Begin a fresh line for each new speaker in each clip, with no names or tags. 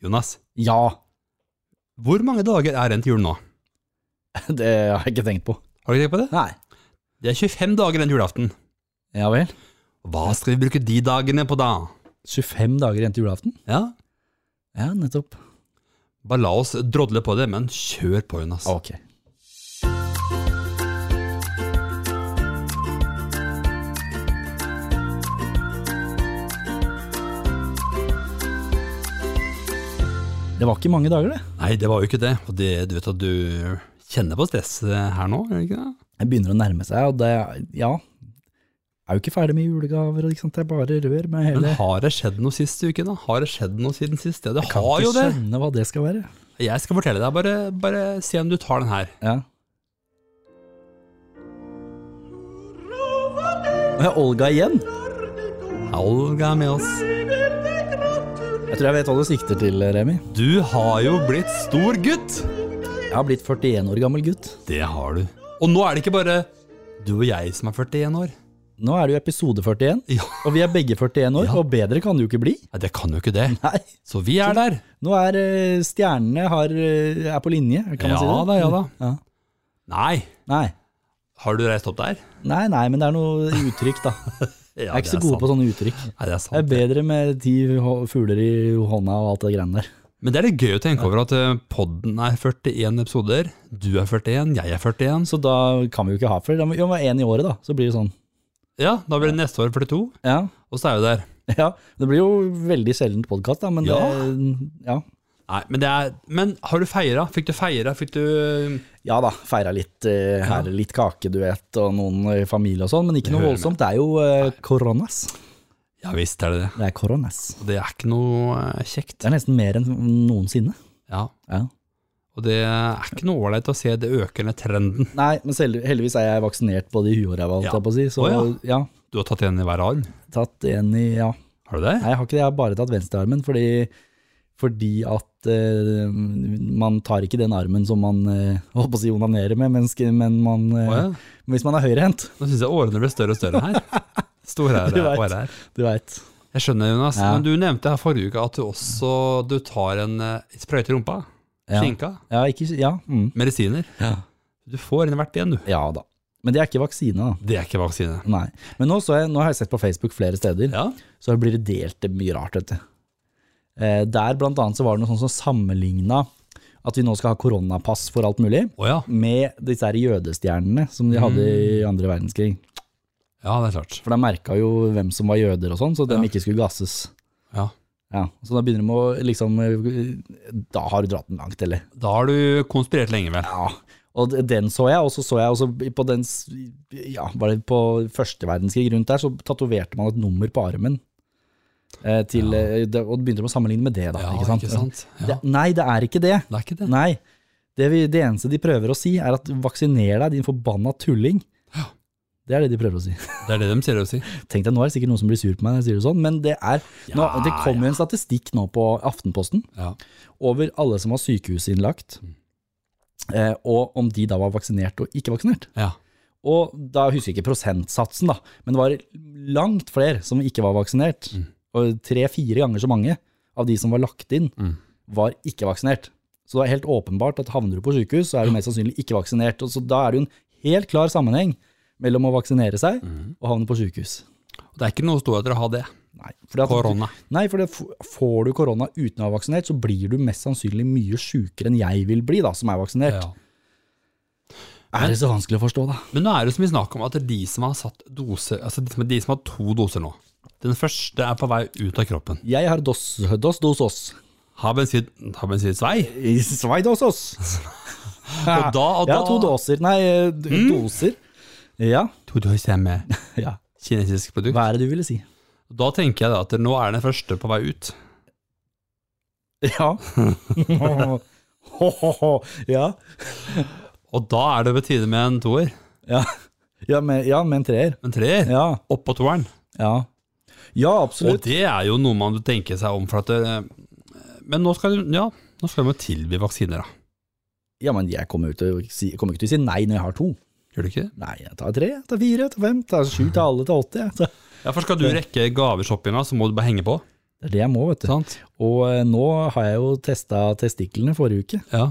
Jonas,
Ja,
hvor mange dager er igjen til jul nå?
det har jeg ikke tenkt på.
Har du tenkt på det?
Nei.
Det er 25 dager igjen til julaften.
Ja vel.
Hva skal vi bruke de dagene på da?
25 dager igjen til julaften?
Ja,
Ja, nettopp.
bare la oss drodle på det, men kjør på, Jonas.
Ok. Det var ikke mange dager, det.
Nei, det var jo ikke det. Og det, du vet at du kjenner på stress eh, her nå, gjør du ikke det?
Det begynner å nærme seg, og det ja. Jeg er jo ikke ferdig med julegaver, og liksom, det er bare rør med hele
Men har det skjedd noe siste uke, da? Har det skjedd noe siden sist? Ja, det
Jeg
har jo det.
Kan ikke skjønne hva det skal være.
Jeg skal fortelle deg, bare, bare se om du tar den her.
Ja. Og jeg Olga igjen.
Olga er med oss.
Jeg tror jeg vet hva du sikter til, Remi.
Du har jo blitt stor gutt.
Jeg har blitt 41 år gammel gutt.
Det har du. Og nå er det ikke bare du og jeg som er 41 år.
Nå er det jo episode 41,
Ja.
og vi er begge 41 år,
Ja.
og bedre kan det jo ikke bli.
Nei, det kan jo ikke det.
Nei.
Så vi er der.
Nå er eh, stjernene har, eh, er på linje, kan man
Ja
si det? Mm.
da, ja da.
Ja.
Nei,
Nei.
har du reist opp der?
nei, nei, men det er noe uttrykk, da.
Ja,
Jeg er ikke så god på sånn. sånne uttrykk.
Nei, det er
Jeg er
sant.
bedre med ti hå- fugler i hånda og alt det greiene der.
Men det er litt gøy å tenke over at eh, podden er 41 episoder. Du er 41, jeg er 41.
Så da kan vi jo ikke ha flere. Da må vi ha én i året, da. Så blir det sånn.
Ja, da blir det neste år 42,
Ja.
og så er vi der.
Ja, det blir jo veldig sjeldent podkast, da, men
Ja.
det, ja.
Nei, men, det er, men har du feira? Fikk du feira? Fikk du eh,
ja da, feira litt eh, her, litt kake, du vet, og noen eh, familie og sånn, men ikke
Det
noe
hører
voldsomt. Det er jo eh, koronas.
Ja visst er det det.
Det er koronas.
Det er ikke noe eh, kjekt.
Det er nesten mer enn noensinne.
Ja.
Ja.
Og det er ikke noe ålreit å se det økende trenden.
Nei, men selv, heldigvis er jeg vaksinert både i huet og ræva, holdt
Ja.
jeg på å si, så
Å,
ja.
Du har tatt igjen i hver arm.
Tatt en i Ja.
Har du det?
Nei, jeg har ikke det, jeg har bare tatt venstrearmen, fordi, fordi at eh, man tar ikke den armen som man eh, holdt på å si onanerer med, men, men man, eh,
Å, ja.
hvis man er høyrehendt,
Nå syns jeg årene blir større og større her. Store
Du
her,
vet.
år her.
du veit.
Jeg skjønner, Jonas.
Ja.
Men du nevnte her forrige uke at du også du tar en eh, sprøyte i rumpa.
Ja.
Skinka.
Ja, ikke, ja. Mm.
Medisiner.
ja.
Du får en hvert igjen, du.
da. Men det er ikke vaksine, da.
Det er ikke vaksine.
Nei. Men nå, så jeg, nå har jeg sett på Facebook flere steder,
Ja.
så blir det delt mye rart, vet du. Eh, der blant annet så var det noe sånt som sammenligna at vi nå skal ha koronapass for alt mulig,
Å ja.
med disse her jødestjernene som de hadde i andre verdenskrig.
Ja, det er klart.
For de merka jo hvem som var jøder og sånn, så de ikke skulle gasses.
Ja.
Ja, Så da begynner de å liksom eh, Da har du dratt den langt, eller?
Da har du konspirert lenge, vel.
Ja, og d- den så jeg, og så så jeg også på den s- Ja, var det på første verdenskrig rundt der, så tatoverte man et nummer på armen. Eh, til, eh, det, og begynte de å sammenligne med det, da.
Ja,
ikke sant?
Ja.
Det, nei, det er ikke det.
Det er ikke det.
Nei. Det, vi, det eneste de prøver å si, er at vaksiner deg, din forbanna tulling. Det er det de prøver å si.
Det er det de sier å si.
Tenk deg, Nå er det sikkert noen som blir sur på meg når jeg sier det sånn, men det er nå,
Ja,
Det kom jo en statistikk nå på Aftenposten
Ja. Mm.
over alle som var sykehusinnlagt, eh, og om de da var vaksinert og ikke vaksinert.
Ja.
Og da husker jeg ikke prosentsatsen, da, men det var langt flere som ikke var vaksinert.
Mm.
Og tre-fire ganger så mange av de som var lagt inn,
Mm.
var ikke vaksinert. Så det er helt åpenbart at havner du på sykehus, så er du mest sannsynlig ikke vaksinert. Og så da er det jo en helt klar sammenheng mellom å vaksinere seg
Mm.
og havne på sykehus.
Og Det er ikke noe storheter å ha det.
Nei, fordi at-
Korona.
Nei, for det, f- får du korona uten å være vaksinert, så blir du mest sannsynlig mye sjukere enn jeg vil bli, da, som er vaksinert.
Ja.
Er det så vanskelig å forstå, da?
Men nå er det jo så mye snakk om at de som har satt dose, altså de som, de som har to doser nå Den første er på vei ut av kroppen.
Jeg har dos, dos, dos, os.
Har bensin, har bensin svei?
Svei dos, os.
Og da, og da
Ja, to doser. Nei, eh, d- doser. Ja.
To doser med
ja.
kinesisk produkt.
Hva er det du ville si?
Da tenker jeg da at nå er den første på vei ut.
Ja. Ho, ho, ho. ja.
Og da er det på tide med en toer.
Ja. Ja, med, ja, med en treer.
En treer.
Ja.
Oppå toeren.
Ja, ja
Og
absolutt.
det er jo noe man bør tenke seg om. For at det, men nå skal, du- ja, nå skal de jo tilby vaksiner, da.
Ja, men jeg kommer, ut til å si, kommer ikke til å si nei når jeg har to.
Gjør du ikke det?
Nei, jeg tar tre, jeg tar fire, jeg tar fem, jeg tar sju, jeg tar alle, jeg tar åtte. jeg tar-
Ja, for skal du rekke gaveshoppinga, så må du bare henge på.
Det er det jeg må, vet du.
Sant?
Og eh, nå har jeg jo testa testiklene forrige uke,
Ja.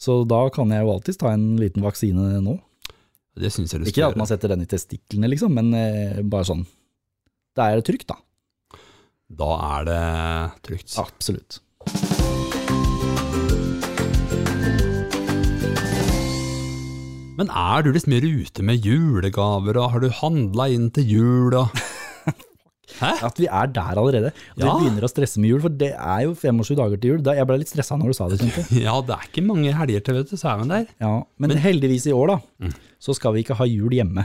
så da kan jeg jo alltids ta en liten vaksine nå.
Det syns jeg du
Ikke
skal
at man
gjøre.
setter den i testiklene, liksom, men eh, bare sånn. Det er trygt, da.
Da er det trygt.
Absolutt.
Men er du liksom i rute med julegaver, og har du handla inn til jul, og
At vi er der allerede. At
Ja.
vi begynner å stresse med jul, for det er jo 25 dager til jul. Da- Jeg ble litt stressa når du sa det, kjente jeg.
Ja, det er ikke mange helger til, vet du, så er man der.
Ja, men, heldigvis i år, da,
Mm.
så skal vi ikke ha jul hjemme.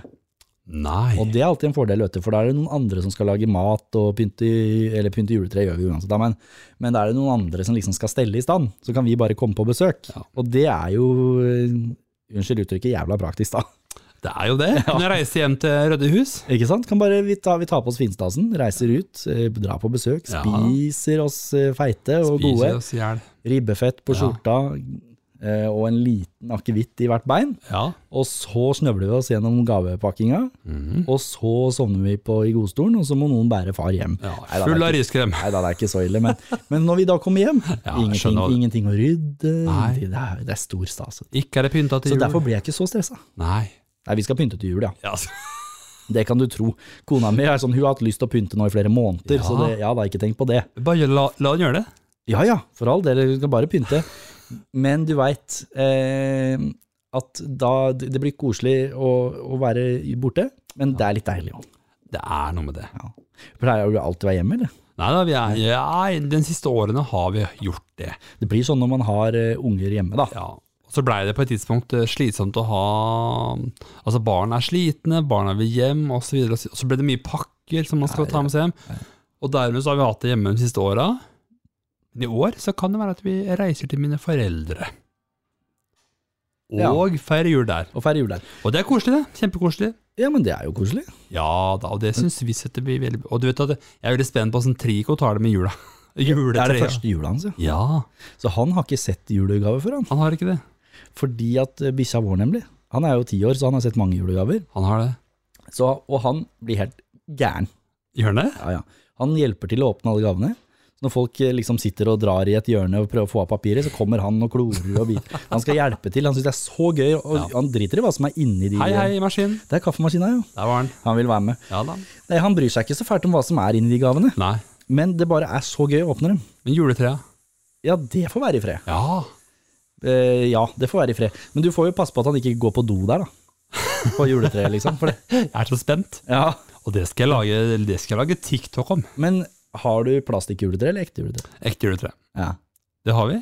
Nei.
Og det er alltid en fordel, vet du, for da er det noen andre som skal lage mat og pynte, eller pynte juletre, gjør vi uansett, da, men, men da er det noen andre som liksom skal stelle i stand. Så kan vi bare komme på besøk.
Ja.
Og det er jo, eh, unnskyld uttrykket, jævla praktisk, da.
Det er jo det. Når jeg reiser hjem til Rødehus,
Ikke sant? Kan bare, vi, tar, vi tar på oss finstasen, reiser ut, eh, drar på besøk,
Ja.
spiser oss eh, feite
spiser
og gode.
jeg oss i hjel.
Ribbefett på
Ja.
skjorta eh, og en liten akevitt i hvert bein.
Ja.
Og så snøvler vi oss gjennom gavepakkinga,
Mhm.
og så sovner vi på i godstolen, og så må noen bære far hjem.
ja.
Nei, da,
Full
det
av riskrem.
Nei da, det er ikke så ille, men, men når vi da kommer hjem,
Ja, jeg
ingenting,
skjønner det.
ingenting å rydde,
Nei.
ingenting- det er, det er stor stas.
Ikke er det pynta til
Så
jul.
derfor blir jeg ikke så stressa.
Nei.
Nei, vi skal pynte til jul, ja.
Ja, altså.
Det kan du tro. Kona mi er sånn, hun har hatt lyst til å pynte nå i flere måneder,
Ja.
så det, ja da, ikke tenk på det.
Bare la, la den gjøre det.
Ja ja, for all del, hun skal bare pynte. Men du veit eh, at da Det blir koselig å, å være borte, men det er litt deilig òg.
Det er noe med det.
Pleier du alltid å være hjemme, eller?
Nei da, vi er ja, Den siste årene har vi gjort det.
Det blir sånn når man har eh, unger hjemme, da.
Ja. Og Så blei det på et tidspunkt eh, slitsomt å ha Altså, barn er slitne, barna vil hjem, osv. Og så ble det mye pakker som man skal ta med seg hjem. Og dermed så har vi hatt det hjemme de siste åra. Men i år så kan det være at vi reiser til mine foreldre.
Ja.
Og feirer jul der.
Og feire jul der.
Og det er koselig, det. Kjempekoselig.
Ja, men det er jo koselig.
Ja da, og det syns vi setter vi veldig Og du vet at jeg er veldig spent på åssen Trico tar det med jula.
Det er det
Juletreet.
første jula hans, ja.
Ja,
Så han har ikke sett julegave før, han.
han har ikke det.
Fordi at eh, bikkja vår, nemlig. Han er jo ti år, så han har sett mange julegaver.
Han har det.
Så, og han blir helt gæren.
Gjør han det?
Ja, ja. Han hjelper til å åpne alle gavene. Så når folk eh, liksom sitter og drar i et hjørne og prøver å få av papiret, så kommer han og klorer og biter. Han skal hjelpe til. Han syns det er så gøy, og
Ja.
han driter i hva som er inni de
Hei, hei, maskin.
Det er kaffemaskina, jo.
Der var han.
Han vil være med.
Ja da.
Nei, han bryr seg ikke så fælt om hva som er inni de gavene,
Nei.
men det bare er så gøy å åpne dem.
Men juletrea?
Ja, det får være i fred.
Ja.
Eh, ja, det får være i fred. Men du får jo passe på at han ikke går på do der, da. På juletreet, liksom. For det.
Jeg er så spent.
Ja.
Og det skal jeg lage, det skal jeg lage TikTok om.
Men har du plastikkjuletre eller ekte juletre?
Ekte juletre.
Ja.
Det har vi,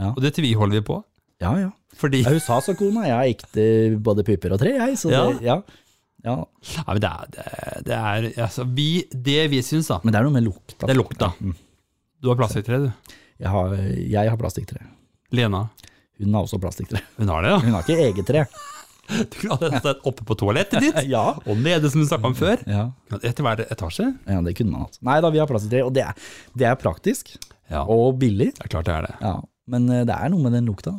Ja.
og det tviholder vi på.
ja, ja.
Fordi
Ja, Hun sa så kona, jeg har ekte både piper og tre, jeg. Så det, ja. Ja.
Nei, men det er, det er, det er altså, vi, Det vi syns, da,
Men det er noe med lukta.
det er lukta. Du har plastikktre, du.
Jeg har, jeg har plastikktre.
Lena,
Hun har også plastikktre.
hun har det, ja?
Hun har ikke eget tre.
Du kunne hatt dette oppe på toalettet ditt.
Ja.
Og nede, som vi snakka om før.
Ja.
Etter hver etasje.
ja, det kunne man hatt. Nei da, vi har plastikktre, og det er, det er praktisk
Ja,
og billig.
det er klart det er det.
Ja. Men eh, det er noe med den lukta.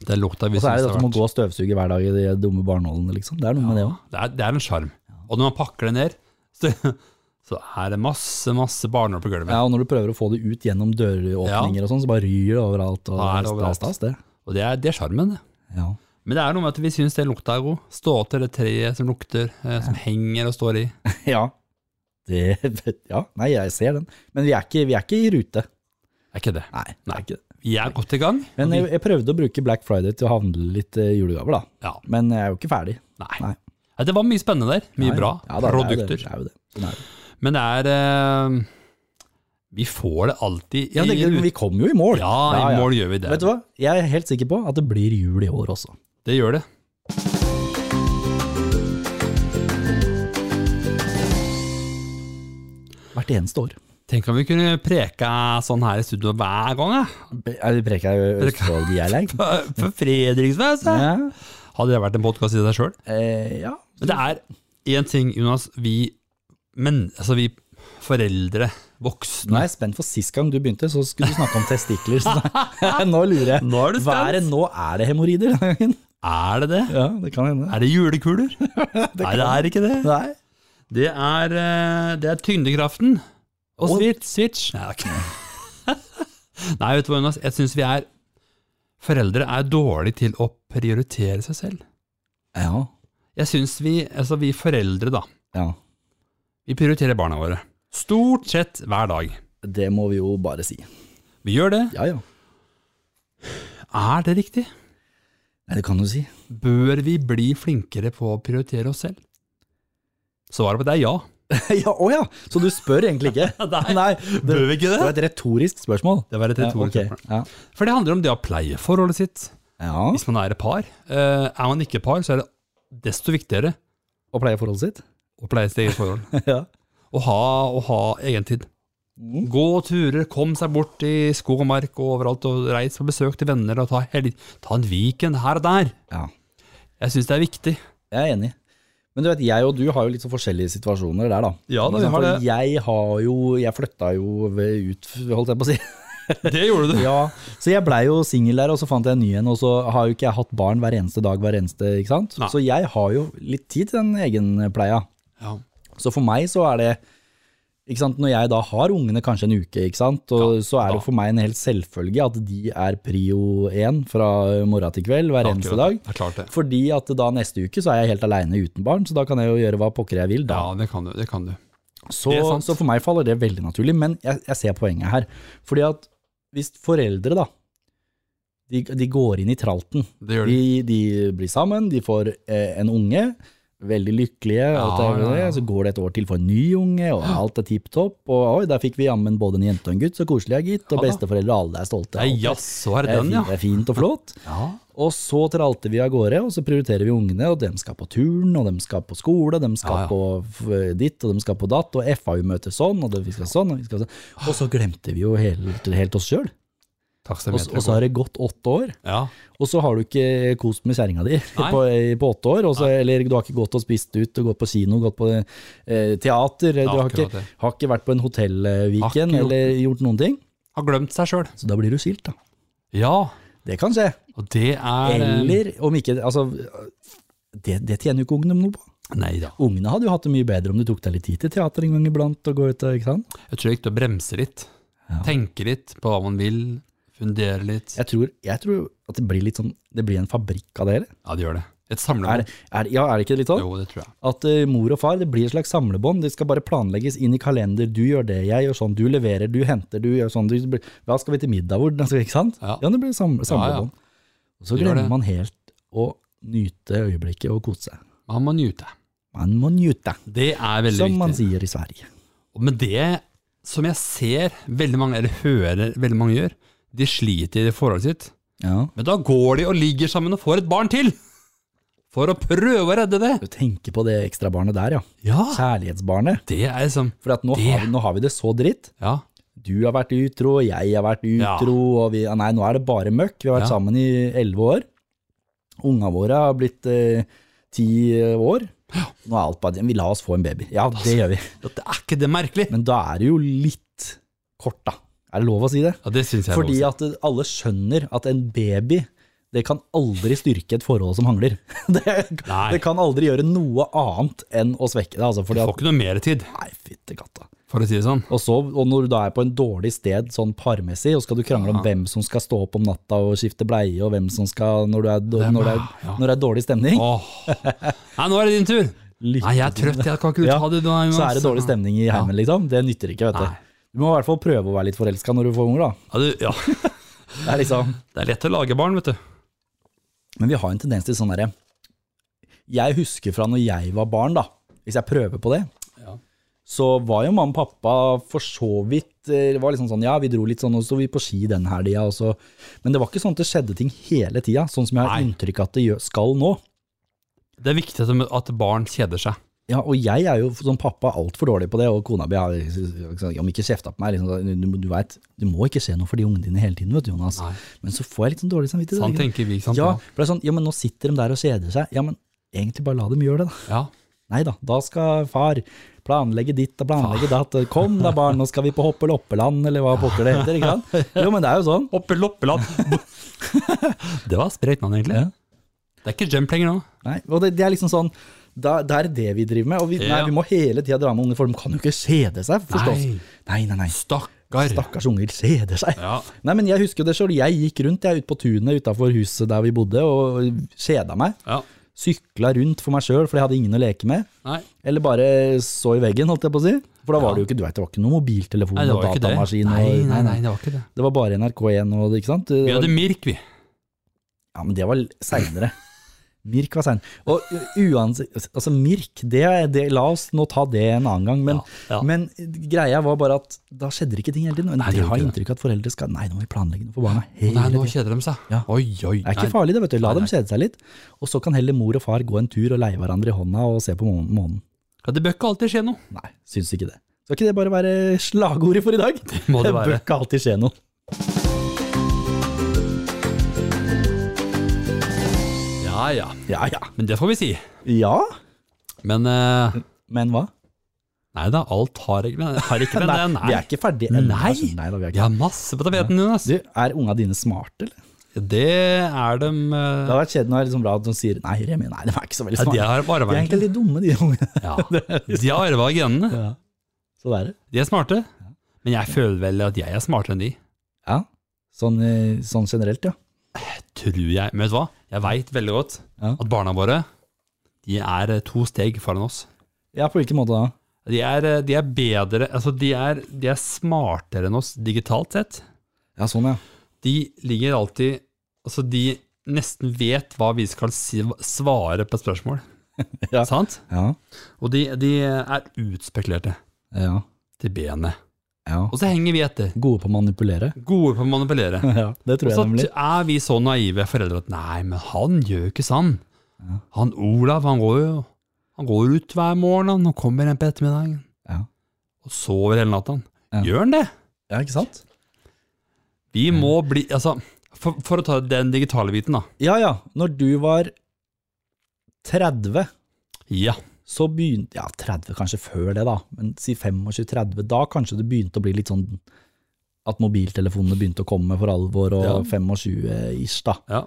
Det er lukta vi
Og så er
syns
det
har
dette
vært-
med å gå og støvsuge hver dag i de dumme barnålene, liksom. Det er noe med det òg.
Det er, det er en sjarm. Og når man pakker det ned, så, så er det masse, masse barnår på gulvet.
Ja, og når du prøver å få det ut gjennom døråpninger og sånn, så bare ryr det overalt. Og
Ja, det er
det er
overalt.
stas, det.
Og det er, det er sjarmen, det.
Ja.
Men det er noe med at vi syns det lukta er god. Stå til det treet som lukter, eh, som henger og står i.
ja. Det, ja. Nei, jeg ser den. Men vi er ikke, vi er ikke i rute.
Er ikke det.
Nei, det
Nei.
er ikke det.
Vi er godt i gang.
Men
og
jeg, jeg prøvde å bruke Black Friday til å handle litt eh, julegaver, da.
vi, ja,
Men jeg er jo ikke ferdig.
nei.
Nei.
Nei, Det var mye spennende der. Mye
Nei.
bra
Ja, da,
produkter.
Det er jo det. det, er jo det. Sånn er det.
Men det er eh, Vi får det alltid i
Ja, det,
rute.
men vi kom jo i mål.
Ja, i mål gjør vi det.
Vet du hva? Jeg er helt sikker på at det blir jul i år også.
Det gjør det.
Hvert eneste år.
Tenk om vi kunne preka sånn her i studio hver gang, ja.
Jeg preker jo Østfold-dialekt.
For for Fredriksberg, altså.
Ja.
Hadde det vært en podkast i seg sjøl?
Eh, ja.
Men det er én ting, Jonas. Vi, men, altså vi foreldre,
Nå
voksne
er jeg spent, for sist gang du begynte, så skulle du snakke om testikler. Så da- nå lurer jeg.
Nå er du
Hva er det nå? Er det hemoroider denne gangen?
Er det det?
Ja, det kan hende.
Er det julekuler? Nei, det er ikke det.
Nei.
Det er, eh, det er tyngdekraften. Og switch, switch. Nei, det er ikke Nei, vet du hva, Jonas? Jeg syns vi er Foreldre er dårlige til å prioritere seg selv.
Ja.
Jeg syns vi, altså vi foreldre, da,
ja.
vi prioriterer barna våre. Stort sett hver dag.
Det må vi jo bare si.
Vi gjør det.
Ja, ja.
Er det riktig?
Nei, det kan du si.
Bør vi bli flinkere på å prioritere oss selv? Svaret på det er ja.
ja, å ja! Så du spør egentlig ikke?
Nei.
det,
Bør vi ikke
det
det?
var et retorisk spørsmål.
Det var et retorisk
Ja, ok.
spørsmål. For det handler om det å pleie forholdet sitt.
Ja. ja.
Hvis man er et par. Eh, er man ikke et par, så er det desto viktigere
Og pleie forholdet sitt?
å pleie sitt eget forhold.
ja.
Å ha, å ha egen tid. Gå turer, kom seg bort i skog og mark og overalt, og reis på besøk til venner, og ta, helg, ta en weekend her og der.
ja.
Jeg syns det er viktig.
Jeg er enig. Men du vet, jeg og du har jo litt så forskjellige situasjoner der, da.
Ja da, vi
Ikke sant?
har
For
det.
Jeg har jo Jeg flytta jo ved- ut, holdt jeg på å si.
Det gjorde du.
ja, Så jeg blei jo singel der, og så fant jeg en ny en, og så har jo ikke jeg hatt barn hver eneste dag, hver eneste, ikke sant.
Nei.
Så jeg har jo litt tid til den egenpleia.
Ja.
Så for meg så er det ikke sant? Når jeg da har ungene kanskje en uke, ikke sant? Og så er det for meg en helt selvfølge at de er prio én fra morgen til kveld hver eneste dag.
Det er klart det.
Fordi at da neste uke så er jeg helt aleine uten barn, så da kan jeg jo gjøre hva pokker jeg vil.
Ja,
Da.
det kan du. Det kan du.
så,
det er sant.
så for meg faller det veldig naturlig, men jeg, jeg ser poenget her. Fordi at hvis foreldre da, de, de går inn i tralten,
Det gjør
de,
du.
de blir sammen, de får eh, en unge, veldig lykkelige, alt det,
Ja,
her og
ja, ja.
det, så går det et år til for en ny unge, og alt er tipp topp, og oi, der fikk vi jammen både en jente og en gutt, så koselig er gitt,
Ja
og
da.
besteforeldre, alle er stolte.
Nei,
alt det.
jaså er
det,
det
er
den,
fint,
ja.
det er fint og flott.
ja.
Og så tralter vi av gårde, og så prioriterer vi ungene, og dem skal på turn, og dem skal på skole, og dem skal
Ja, ja.
på f- eh, ditt, og dem skal på datt, og FAU-møter sånn, og det, vi skal sånn, og vi skal sånn. Og så glemte vi jo helt, helt oss sjøl. Og, så-
Taksameteret
og så
går.
har det gått åtte år,
Ja.
og så har du ikke kost med kjerringa di
Nei.
på, på åtte år, og så, eller du har ikke gått og spist ut, og gått på kino, gått på eh, teater, du har
akkurat
ikke,
det.
har ikke vært på en
Har ikke
hotellweekend
gjort
eller gjort noen ting.
Har glemt seg sjøl.
Så da blir du skilt, da.
Ja.
Det kan skje.
Og det er eh,
Eller om ikke Altså, det, det tjener jo ikke ungene noe på.
Nei da.
Ungene hadde jo hatt det mye bedre om du tok deg litt tid til teater en gang iblant og gå ut og ikke sant.
Jeg tror det er viktig å bremse litt.
Ja.
Tenke litt på hva man vil. Fundere litt.
Jeg tror, jeg tror at det blir litt sånn Det blir en fabrikk av det hele.
Ja, det gjør det. Et
Er,
samlebånd.
er, ja, er det ikke litt sånn?
Jo, det tror jeg.
At eh, mor og far, det blir et slags samlebånd. Det skal bare planlegges inn i kalender. Du gjør det, jeg gjør sånn. Du leverer, du henter, du gjør sånn. Du, blir- hva skal vi til middag? Hvor, altså, ikke sant?
Ja.
det blir sam,
Ja, ja.
samlebånd. Og så
Det gjør det.
glemmer man helt å nyte øyeblikket og kose seg.
Man må nyte.
Man må nyte,
Det er veldig
som man
viktig.
sier i Sverige.
Men det som jeg ser veldig mange, eller hører veldig mange gjør, de sliter i forholdet sitt.
Ja.
Men da går de og ligger sammen og får et barn til! For å prøve å redde det!
Du tenker på det ekstrabarnet der, ja.
Ja,
Kjærlighetsbarnet.
det er liksom
For at nå,
Ah. Det-
har vi, nå har vi det så dritt.
Ja.
Du har vært utro, jeg har vært
Ja.
utro, og vi, nei, nå er det bare møkk. Vi har vært
Ja.
sammen i elleve år. Unga våre har blitt eh, ti år. Nå er alt bare Vi la oss få en baby. Ja, det gjør vi.
Det er ikke det merkelig?
Men da er det jo litt kort, da. Er det lov å si det?
Ja, det syns jeg. er
Fordi
lov å
at alle skjønner at en baby det kan aldri styrke et forhold som hangler. Det,
Nei.
det kan aldri gjøre noe annet enn å svekke det. Altså,
si.
fordi
Du
at
får ikke noe mer tid,
Nei, fytti katta.
for å si det sånn.
Og, så, og når du da er på en dårlig sted sånn parmessig, og skal du krangle om hvem som skal stå opp om natta og skifte bleie, og hvem som skal når det er, dår- når det er,
ja.
når det er dårlig stemning,
Åh. Nei, nå er det din tur!
lykke
Nei, jeg er
til.
trøtt, jeg kan ikke
Ja,
ta det. Nei,
så er det dårlig stemning i heimen, liksom. Det nytter ikke, vet
Nei.
du. Du må i hvert fall prøve å være litt forelska når du får unger, da.
Ja, du, ja.
Det er liksom.
Det er lett å lage barn, vet du.
Men vi har en tendens til sånn derre Jeg husker fra når jeg var barn, da, hvis jeg prøver på det,
Ja.
så var jo mamma og pappa for så vidt eh, Det var liksom sånn, ja, vi dro litt sånn, og så sto vi på ski den helga, og så Men det var ikke sånn at det skjedde ting hele tida, sånn som jeg har
Nei.
inntrykk av at det gjør- skal nå.
Det er viktig at- at barn kjeder seg.
Ja, og jeg er jo som pappa altfor dårlig på det, og kona mi har liksom, om ikke kjefta på meg, liksom, du, du veit, det må ikke skje noe for de ungene dine hele tiden, vet du, Jonas.
Nei.
Men så får jeg litt sånn dårlig samvittighet.
Sånn tenker vi, ikke sant?
ja, for det er sånn, ja, men nå sitter de der og kjeder seg. Ja, men egentlig bare la dem gjøre det, da.
Ja.
Nei da, da skal far planlegge ditt og planlegge datt. og Kom da, barn, nå skal vi på hoppeloppeland, eller hva pokker det heter. ikke sant? Jo, men det er jo sånn.
Oppe loppeland! det var spreit navn, egentlig.
Ja.
Det er ikke jump lenger nå.
Nei, og det, det er liksom sånn Da, det er det vi driver med. Og vi, nei,
Ja.
vi må hele tida dra med unge, for de kan jo ikke kjede seg, forstås.
Nei.
Nei, nei, nei.
Stakkar.
Stakkars unger kjeder seg.
Ja.
Nei, men Jeg husker jo det selv. Jeg gikk rundt jeg ute på tunet utafor huset der vi bodde, og kjeda meg.
ja.
Sykla rundt for meg sjøl, for jeg hadde ingen å leke med.
Nei.
Eller bare så i veggen, holdt jeg på å si. For da var det jo ikke du vet, det var ikke noen mobiltelefon
nei, det
og
var jo ikke det.
datamaskin.
Nei,
og-
nei, nei, det var ikke det.
Det var bare NRK1 og det, ikke sant? Det
Vi
var-
hadde Mirk, vi.
Ja, men det var seinere. Mirk var sein. Og uansett, altså Mirk, det, er- det, la oss nå ta det en annen gang, men,
Ja, ja.
men greia var bare at da skjedde det ikke ting hele tiden.
Nei, det
de
gjorde
har
ikke
inntrykk av at foreldre skal Nei, nå må vi planlegge noe for barna hele
Nei, nå
tiden.
kjeder de seg.
Ja.
Oi, oi.
Det er ikke
nei.
farlig, det, vet du. La
Nei, nei.
dem kjede seg litt. Og så kan heller mor og far gå en tur og leie hverandre i hånda og se på månen. månen.
Ja, det bør ikke alltid skje noe.
Nei, syns ikke det. Skal ikke det bare være slagordet for i dag? Det
må det
bør
være.
ikke alltid skje noe.
Ja, ja.
Ja ja.
Men det får vi si.
Ja,
Men eh,
men hva?
nei da, alt har ikke med har ikke med det.
Nei, vi
eh, Nei.
er ikke ferdige ennå.
Nei.
altså. Nei da, vi er
Vi
ikke.
har masse på tapeten, Jonas.
Du, er unga dine smarte, eller?
Det er de
Det
eh,
hadde vært kjedelig når det er liksom bra at de sier nei, Remi, nei, de er ikke så veldig
ja, De
smarte.
har
De er
arva
egentlig litt dumme, de ungene.
ja. De har arva genene.
Ja. Så det er det.
De er smarte. Men jeg føler vel at jeg er smartere enn de.
Ja. Sånn, eh, sånn generelt, ja.
Tror jeg Men vet du hva? Jeg veit veldig godt
Ja.
at barna våre De er eh, to steg foran oss.
Ja, på hvilken måte da?
De er, eh, de er bedre Altså, de er, de er smartere enn oss digitalt sett.
Ja, sånn, ja.
de ligger alltid Altså, de nesten vet hva vi skal si, svare på et spørsmål.
Ja.
Sant?
Ja.
Og de, de er utspekulerte
ja.
til benet.
ja.
Og så henger vi etter.
Gode på å manipulere.
Gode på å manipulere.
Ja, det
Og
tror
så
jeg nemlig.
er vi så naive foreldre at nei, men han gjør jo ikke sånn. Han Olav, han går jo han går ut hver morgen, han, og kommer hjem på ettermiddagen.
Ja.
Og sover hele natta.
Ja.
Gjør han det?
ja, ikke sant?
Vi må bli Altså, for, for å ta den digitale biten, da.
Ja, ja. Når du var 30,
Ja.
så begynte Ja, 30 kanskje før det, da, men si 25-30. Da kanskje det begynte å bli litt sånn at mobiltelefonene begynte å komme for alvor, og
Ja.
25-ish, da.
Ja.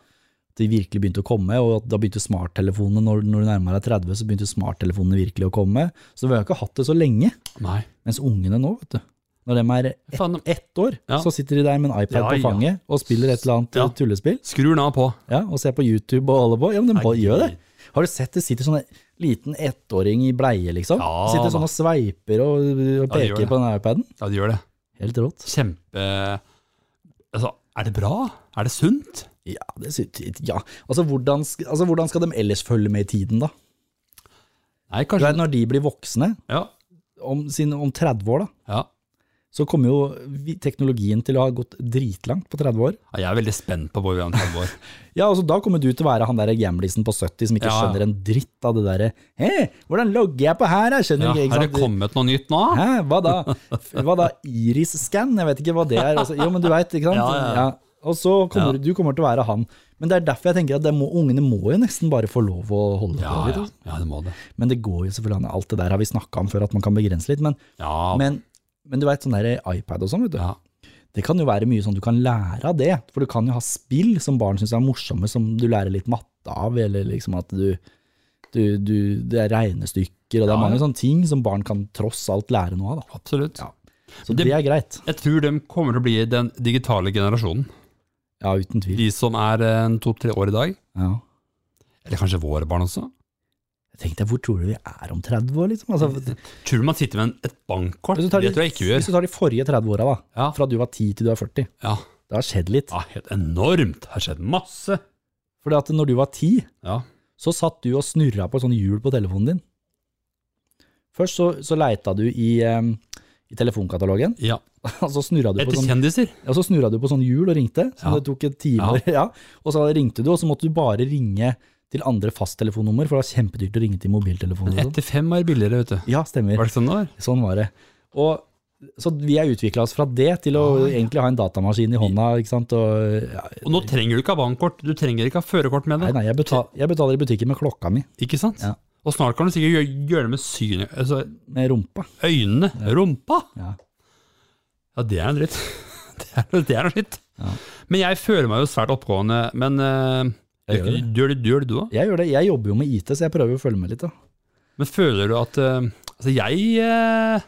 De virkelig begynte å komme, og at da begynte smarttelefonene når, når du nærmer deg 30, så begynte smarttelefonene virkelig å komme. Så vi har ikke hatt det så lenge.
Nei.
Mens ungene nå, vet du. Når de er ett,
Faen,
ett år,
Ja.
så sitter de der med en iPad
Ja,
på
ja.
fanget og spiller et eller annet
Ja.
tullespill.
Skrur den av på.
Ja, og ser på YouTube og holder på. Ja, men de
Nei,
bare gjør det.
gud.
Har du sett det sitter sånn en liten ettåring i bleie, liksom?
Ja,
sitter
da.
sånn og sveiper og, og
Ja, de gjør
peker
det.
på den iPaden.
Ja, det gjør det.
Helt rått.
Kjempe Altså, er det bra? Er det sunt?
Ja, det synes, ja. Altså, hvordan, sk- altså, hvordan skal de ellers følge med i tiden, da?
Nei,
Du
kanskje
vet, når de blir voksne,
Ja.
om, sin, om 30 år, da,
ja.
så kommer jo vi- teknologien til å ha gått dritlangt på 30 år.
Ja, Jeg er veldig spent på hvor vi er om 30 år.
Ja, altså Da kommer du til å være han der gamlisen på 70 som ikke
Ja, ja.
skjønner en dritt av det derre Hei, hvordan logger jeg på her? Jeg skjønner
Ja,
ikke, ikke
har det
sant?
kommet noe nytt nå?
Hæ, hva da? F- Hva da? Iris-scan? Jeg vet ikke hva det er. Altså, jo, men du veit, ikke sant?
Ja, ja, ja.
Og så kommer
Ja.
du- du kommer til å være han. Men det er derfor jeg tenker at det må, ungene må jo nesten bare få lov å holde
Ja,
på litt.
ja,
altså.
ja, det må det.
Men det går jo selvfølgelig an. Alt det der har vi snakka om før, at man kan begrense litt. Men,
Ja,
men, men du veit, sånn der iPad og sånn, vet du.
ja.
Det kan jo være mye sånn du kan lære av det, for du kan jo ha spill som barn syns er morsomme, som du lærer litt matte av, eller liksom at du, du, du Det er regnestykker, og det
Ja,
er mange
ja.
sånne ting som barn kan tross alt lære noe av. Da.
absolutt.
Ja. Så
Det-
det, er greit.
Jeg tror de kommer til å bli den digitale generasjonen.
Ja, uten tvil.
De som er eh, en to-tre år i dag.
Ja.
Eller kanskje våre barn også.
Tenk deg, hvor tror du vi er om 30 år, liksom? Altså,
Tror du man sitter med en, et bankkort?
hvis, du
Det
tar de,
tror jeg ikke vi gjør.
hvis du tar de forrige 30 åra, da.
Ja.
Fra du var 10 til du er 40.
Ja.
Det har skjedd litt.
ja, helt enormt. Det har skjedd masse.
Fordi at når du var 10,
Ja.
så satt du og snurra på et sånt hjul på telefonen din. Først så, så leita du i, em, i telefonkatalogen,
ja.
og så snurra du, på
Etter
sånn,
kjendiser.
ja, så snurra du på sånn hjul og ringte, som
Ja.
det tok et timer. Ja. Og så ringte du, og så måtte du bare ringe til andre fasttelefonnummer, for det var kjempedyrt å ringe til mobiltelefonen. og sånn.
Etter fem år billigere, vet du.
Ja, stemmer.
Var det ikke sånn det var?
Sånn var det. Og, så vi har utvikla oss fra det til å
Ah,
egentlig ha en datamaskin i hånda. ikke sant? Og, ja,
Og nå trenger du ikke ha bankkort, du trenger ikke ha førerkort med
nei,
det.
nei, jeg betaler, jeg betaler i butikken med klokka mi,
Ikke sant?
Ja.
Og snart kan du sikkert gjøre, gjøre det med syne, altså
med rumpa.
øynene, rumpa.
Ja.
Ja, det er en dritt. Det er, det er noe dritt.
Ja.
Men jeg føler meg jo svært oppgående, men eh,
Jeg gjør
gjør, det. Gjør, det du òg?
Jeg gjør det, jeg jobber jo med IT, så jeg prøver å følge med litt. da.
Men føler du at eh, Altså, jeg eh,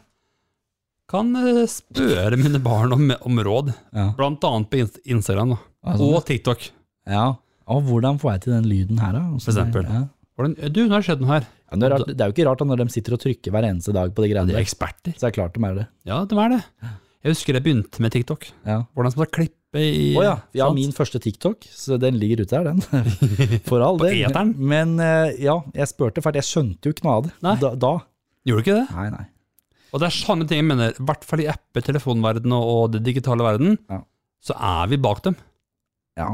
kan eh, spørre mine barn om, om råd,
Ja.
blant annet på Inst- Instagram da.
Ja, sånn,
og TikTok.
Ja. Og hvordan får jeg til den lyden her, da? Hvordan-
For eksempel.
Ja.
Hvordan, du, nå har det skjedd noe her.
Ja, men det, er rart, det er jo ikke rart da når de sitter og trykker hver eneste dag på de greiene
De er
der.
eksperter.
Så er det klart de er det.
Ja, de er det. Jeg husker jeg begynte med TikTok.
Ja.
Hvordan skal jeg klippe i
Å ja. Vi har
sant?
min første TikTok, så den ligger ute her, den. For all
På
del.
eteren?
Men eh, ja, jeg spurte, for at jeg skjønte jo ikke noe av det
Nei.
Da, da.
Gjorde du ikke det?
Nei, nei.
Og det er sånne ting jeg mener. I hvert fall i apper, telefonverdenen og og det digitale verden,
Ja.
så er vi bak dem.
Ja.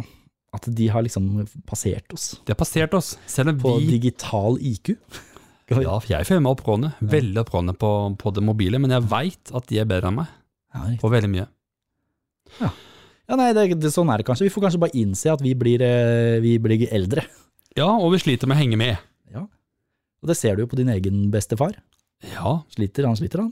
At de har liksom passert oss
De har passert oss. Selv om
på
vi
digital IQ.
Ja, jeg føler meg oppgående. Veldig oppgående på, på det mobile, men jeg veit at de er bedre enn meg
Ja, riktig.
på veldig mye.
ja nei, det, det, sånn er det kanskje. Vi får kanskje bare innse at vi blir, eh, vi blir eldre.
Ja, og vi sliter med å henge med.
Og det ser du jo på din egen bestefar.
Ja,
Sliter han, sliter han?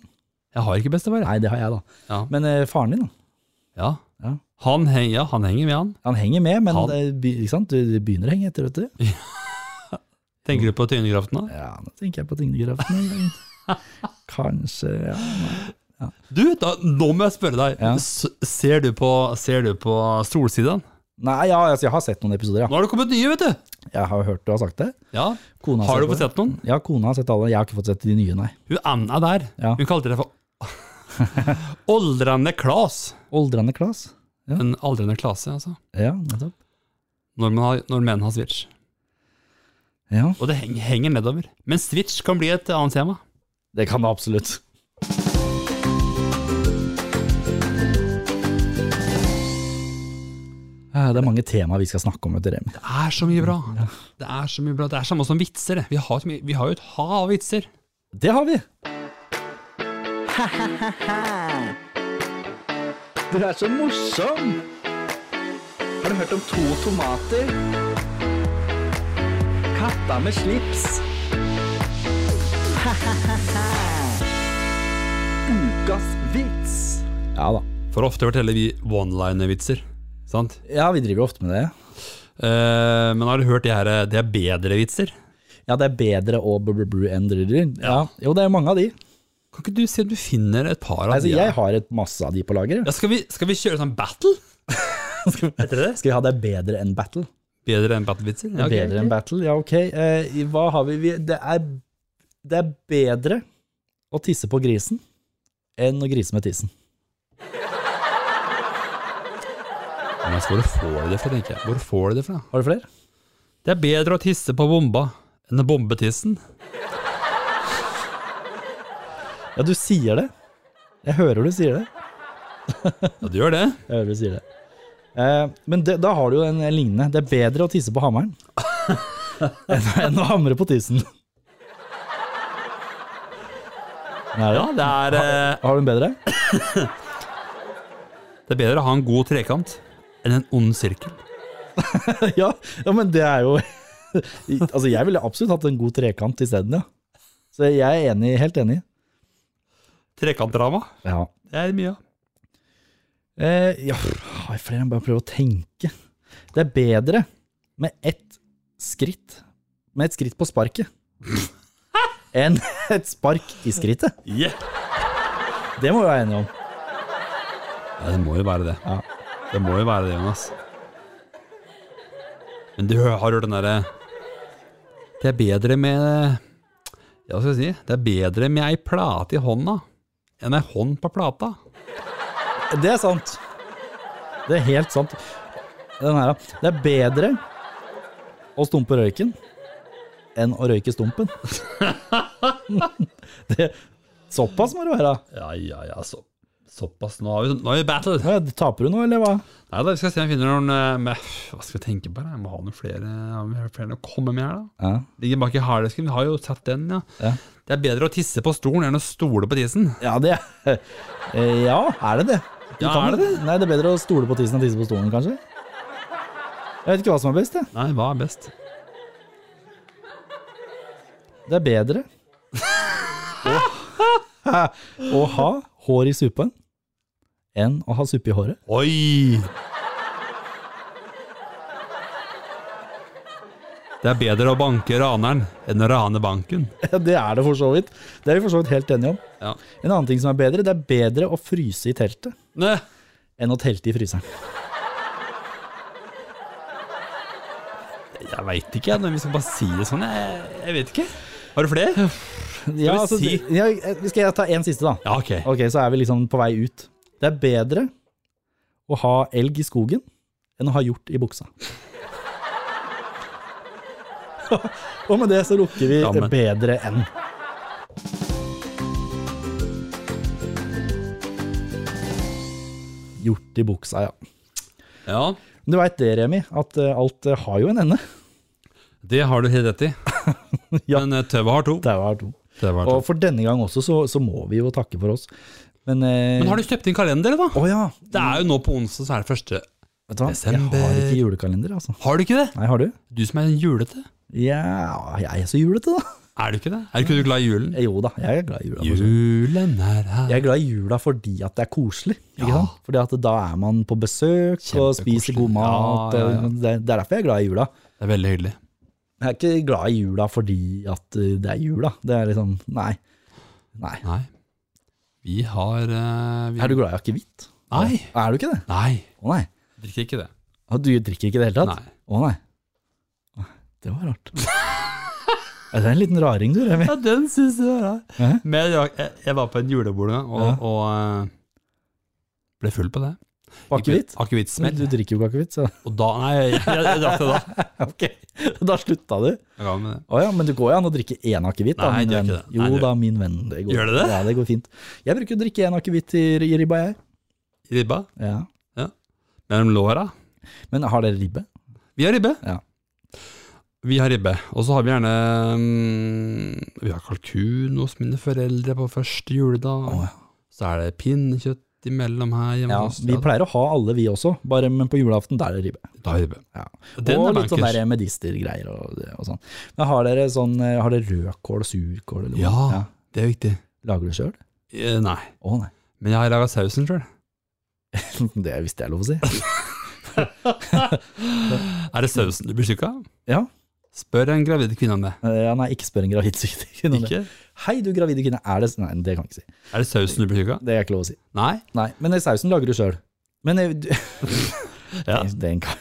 jeg har ikke bestefar, jeg.
Nei, det har jeg, da.
Ja.
Men eh, faren din, da?
Ja.
Ja.
Han, heng, ja, han henger med, han.
Han henger med, men
Han-
det be- ikke sant? du du begynner å henge etter, vet du.
Tenker du på tynegraften da?
Ja, nå tenker jeg på tyngdekraften. Kanskje ja.
Du, da, nå må jeg spørre deg.
Ja.
S ser, du på, ser du på Solsiden?
Nei, ja, altså, jeg har sett noen episoder,
Nå har det kommet nye, vet du!
ja. Jeg har hørt du har sagt det.
Ja.
Kona
Har du
på
fått sett noen?
det. Ja, kona har sett alle. Jeg har ikke fått sett de nye, nei.
Hun Anna der,
Ja.
hun kalte det for Oldrende Klas.
Oldrende Klas.
En aldrende klase, altså.
Ja, nettopp.
Når, man har, når menn har switch.
Ja,
Og det heng, henger nedover. Men switch kan bli et annet tema.
det kan det absolutt. Ja, Eh, Det er mange tema vi skal snakke om, vet du, Remi.
Det er så mye bra. Det er så mye bra. Det er samme som vitser. det. Vi har, så mye- vi har jo et hav av vitser.
Det har vi! Du er så morsom! Har du hørt om to tomater? Katta med slips. Ukas vits. Ja da.
For ofte forteller vi one-liner-vitser. Sant?
Ja, vi driver jo ofte med det.
Eh, men har du hørt de her eh, Det er bedre vitser?
Ja, det er bedre å br-br-br enn drr-drr. Ja. Jo, det er mange av de.
Kan ikke du se om du finner et par av
Altså,
de? her?
jeg har et masse av de på lager.
Ja, skal, vi, skal vi kjøre sånn battle? Heter det det?
Skal vi ha det bedre enn battle?
Bedre enn battle-vitser? Ja, ok,
bedre enn
ok.
battle, ja ok. Eh, i- hva har vi? vi det, er, det er bedre å tisse på grisen enn å grise med tissen.
Men altså, Hvor får du det fra, tenker jeg. Hvor får du det fra?
Har du flere?
Det er bedre å tisse på bomba enn å bombe tissen.
Ja, du sier det. Jeg hører du sier det.
Ja, du gjør det.
Jeg hører du sier det. Eh, men det, da har du jo en lignende. Det er bedre å tisse på hammeren enn, enn å hamre på tissen. Nei,
Ja, det er, eh,
Har du en bedre?
det er bedre å ha en god trekant enn en ond sirkel.
ja, ja, men det er jo Altså, jeg ville absolutt hatt en god trekant isteden, ja. Så jeg er enig, helt enig.
Trekantdrama,
Ja.
det er mye av.
Eh, ja, har jeg flere enn bare prøve å tenke? Det er bedre med ett skritt Med et skritt på sparket enn et spark i skrittet.
Yeah.
Det må vi være enige om.
Ja, det må jo være det.
Ja.
Det må jo være det, Jonas. Men du har hørt den derre Det er bedre med Ja, hva skal jeg si? Det er bedre med ei plate i hånda enn ei hånd på plata.
Det er sant. Det er helt sant. Den her, da. Det er bedre å stumpe røyken enn å røyke stumpen. det, såpass må det være.
Ja, ja, ja, så, såpass. Nå har vi, nå har vi battle.
Hva, Taper du nå, eller hva?
Nei da, vi skal se om vi finner noen eh, med, Hva skal vi tenke på? her? Jeg må ha noen flere, har vi flere å komme med her, da.
Ja.
Ligger bak i harddisken. Vi har jo tatt den, ja.
Ja.
Det er bedre å tisse på stolen enn å stole på tissen.
Ja, det Eh, Ja, er det det? Du
Ja,
kan
er det
vel- Nei, det er bedre å stole på tissen enn tisse på stolen, kanskje? Jeg vet ikke hva som er best, jeg.
Nei, hva er best?
Det er bedre å, å ha hår i suppen enn å ha suppe i håret.
Oi! Det er bedre å banke raneren enn å rane banken.
Det er det for så vidt. Det er vi for så vidt helt enige om.
Ja.
En annen ting som er bedre, det er bedre å fryse i teltet
Nei.
enn å telte i fryseren.
Jeg veit ikke, jeg, men vi skal bare si det sånn. Jeg, jeg vet ikke. Har du flere?
Ja,
Skal vi
altså, ja, skal jeg ta en siste, da?
Ja, ok.
Ok, så er vi liksom på vei ut. Det er bedre å ha elg i skogen enn å ha hjort i buksa. Og med det så lukker vi
Ja, men-
bedre enn. Hjort i buksa, ja.
Ja,
Men Du veit det, Remi, at eh, alt eh, har jo en ende.
det har du helt rett i.
Ja.
Men eh, Tøve har to.
Det var to.
Tøve har to.
Og for denne gang også, så, så må vi jo takke for oss. Men, eh,
Men har du kjøpt inn kalender, da?
Å ja.
Det er jo nå på onsdag, så er det første.
Vet du hva,
Desember.
jeg har ikke julekalender, altså.
Har du ikke det?
Nei, har du?
Du som er julete.
Ja, jeg er så julete, da. Eh,
Er du ikke det? Er ikke du glad i julen?
Jo da, jeg er glad i jula. for så vidt.
Julen er her.
Jeg er glad i jula fordi at det er koselig. Ikke
Ja.
sant? Fordi at da er man på besøk og spiser
Kjempekoselig.
god mat.
Ja, ja, ja.
og Det, det er derfor jeg er glad i jula.
Det er veldig hyggelig.
Jeg er ikke glad i jula fordi at uh, det er jula. Det er liksom, nei. nei.
Nei. Vi har eh, vi...
Er du glad i akevitt?
Nei.
Er du ikke det?
Nei.
Å nei.
Drikker ikke det.
Å, Du drikker ikke i det hele tatt?
Nei.
Å nei. Det var rart. Er det en liten raring, du, Remi?
Ja, den syns jeg er rar.
Hæ?
Men jeg, jeg, jeg var på en julebord en gang, og,
Ja.
og eh, ble full på det.
Akevitt? Men
Akevittsmell.
Du drikker jo ikke akevitt, så
Og da Nei, jeg, jeg, jeg drakk det da.
Ok, da slutta du.
Jeg ga meg det.
Å ja, men det går jo an å drikke én akevitt, da,
Nei,
min
det gjør
venn.
ikke det.
Jo
Nei, det
da, min venn. Det går.
Gjør det det?
Ja, det går fint. Jeg bruker å drikke én akevitt i, i ribba, jeg.
Ribba.
Ja.
Mellom låra.
Men har dere ribbe?
Vi har ribbe.
Ja.
Vi har ribbe. Og så har vi gjerne mm, Vi har kalkun hos mine foreldre på første juledag.
Å, ja.
Så er det pinnekjøtt imellom her hjemme
Ja,
hos oss.
vi pleier å ha alle, vi også, bare men på julaften der er det ribbe.
Da har vi ribbe.
Ja.
Den
og
er
litt sånn
bankers.
der medistergreier og, og sånn. Men har dere sånn eh, Har dere rødkål og surkål? Eller noe?
Ja. Det er viktig.
Lager du sjøl?
Eh, Nei.
Å nei.
Men jeg har laga sausen sjøl.
Det visste jeg er lov å si.
Er det sausen du blir syk av?
Ja.
Spør en gravid kvinne om det.
Eh, Ja, nei, ikke spør en gravid kvinne om det.
Ikke?
Hei, du gravide kvinne, er det s- Nei, det kan jeg ikke si.
Er det sausen du blir syk av?
Det er ikke lov å si.
Nei.
Nei, men eh, sausen lager du sjøl. Men eh, du,
Ja.
den kan,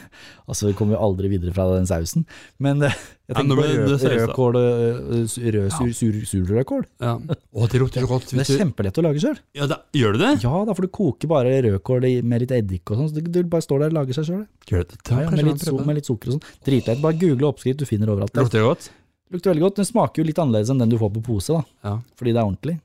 altså, vi kommer jo aldri videre fra den sausen. Men eh, jeg
Ja, nå
tenker på
ble det
rød,
saus, da.
rødkål, eh, s- rød, sur, sur, surrødkål.
ja. Å, det lukter så godt.
Det
Hvis
er
du...
kjempelett å lage sjøl.
ja, da, gjør du det?
Ja da, for du koker bare rødkål i- med litt eddik og sånn. Så det- det bare står der og lager seg sjøl.
Gjør du det?
Ja, ja, med,
Kanskje
litt
man prøver
so-
det.
med litt sukker og sånn. Dritlett. Bare google oppskrift, du finner overalt. Det
Lukter det godt?
lukter veldig godt. Den smaker jo litt annerledes enn den du får på pose, da.
Ja.
Fordi det er ordentlig.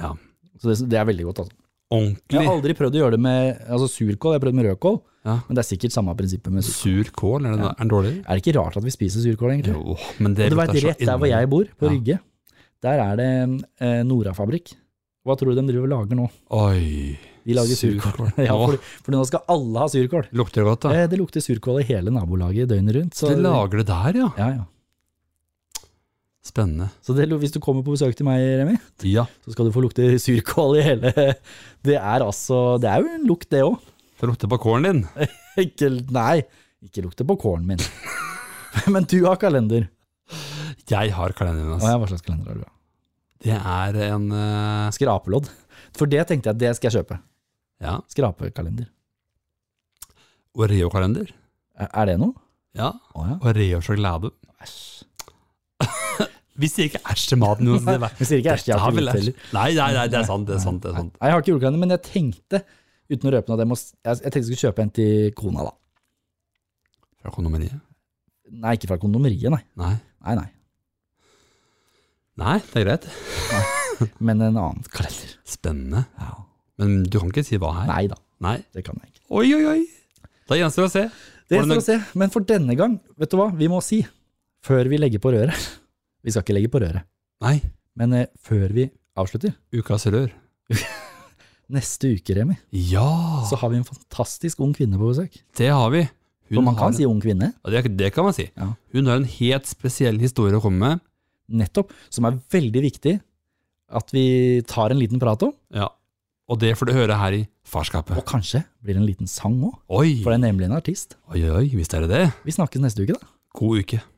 Ja.
Så det, det er veldig godt, altså. Jeg
Ordentlig
har aldri prøvd å gjøre det med altså surkål, jeg har prøvd med rødkål.
Ja.
Men det er sikkert samme prinsippet med surkål.
sur kål. Er det, er den dårlig?
Er det ikke rart at vi spiser surkål, egentlig?
Jo, men det
Og du vet,
lukter så
rett der hvor
innmari-
jeg bor, på
Ja.
Rygge, der er det eh, Nora-fabrikk. Hva tror du de driver og lager nå?
Oi.
De lager surkål.
Surkål.
Ja,
Åh.
for, for nå skal alle ha surkål.
Lukter det godt, da?
Eh, det lukter surkål i hele nabolaget døgnet rundt. Så,
De lager det der, ja.
ja, ja.
Spennende.
så det, hvis du kommer på besøk til meg, Remi,
Ja.
så skal du få lukte surkål i hele Det er altså Det er jo en lukt, det òg.
Det lukter på kålen din.
Ikke, nei, ikke lukte på kålen min. Men du har kalender.
Jeg har kalenderen
Å,
hans.
ja, hva slags kalender har du? da?
Det er en eh,
Skrapelodd. For det tenkte jeg at det skal jeg kjøpe.
Ja.
Skrapekalender.
Oreo-kalender.
Er- Er det noe?
Ja.
Å ja.
Oreo-sjokolade.
Æsj.
Vi sier ikke æsj til maten. Jonas. Det er-
Vi sier ikke æsj, jeg
Dette
har ikke
vel
gjort
æsj.
heller.
Nei, nei, nei, det er sant. Det er sant, det er
Nei,
sant.
jeg har ikke julekalender, men jeg tenkte, uten å røpe noe, at jeg, må, jeg, jeg tenkte jeg skulle kjøpe en til kona, da.
Fra kondomeriet?
Nei, ikke fra kondomeriet, nei.
Nei.
Nei, nei.
Nei, det er greit.
Men en annen kalender.
Spennende.
Ja.
Men du kan ikke si hva her.
Nei da,
Nei.
det kan jeg ikke.
Oi, oi, oi. Da gjenstår det å se.
Det
Hvordan-
skal vi se, men for denne gang, vet du hva, vi må si, før vi legger på røret. Vi skal ikke legge på røret,
Nei.
men eh, før vi avslutter,
Ukas rør.
neste uke, Remi,
Ja,
så har vi en fantastisk ung kvinne på besøk.
det har vi. Hun
For man
har-
kan si ung kvinne,
Ja, det, det kan man si.
Ja.
Hun har en helt spesiell historie å komme med.
nettopp, som er veldig viktig at vi tar en liten prat om,
Ja. Og det får du høre her i
og
Farskapet.
kanskje blir det en liten sang òg,
Oi,
for det er nemlig en artist.
oi, oi, visst er det det.
Vi snakkes neste uke, da.
God uke.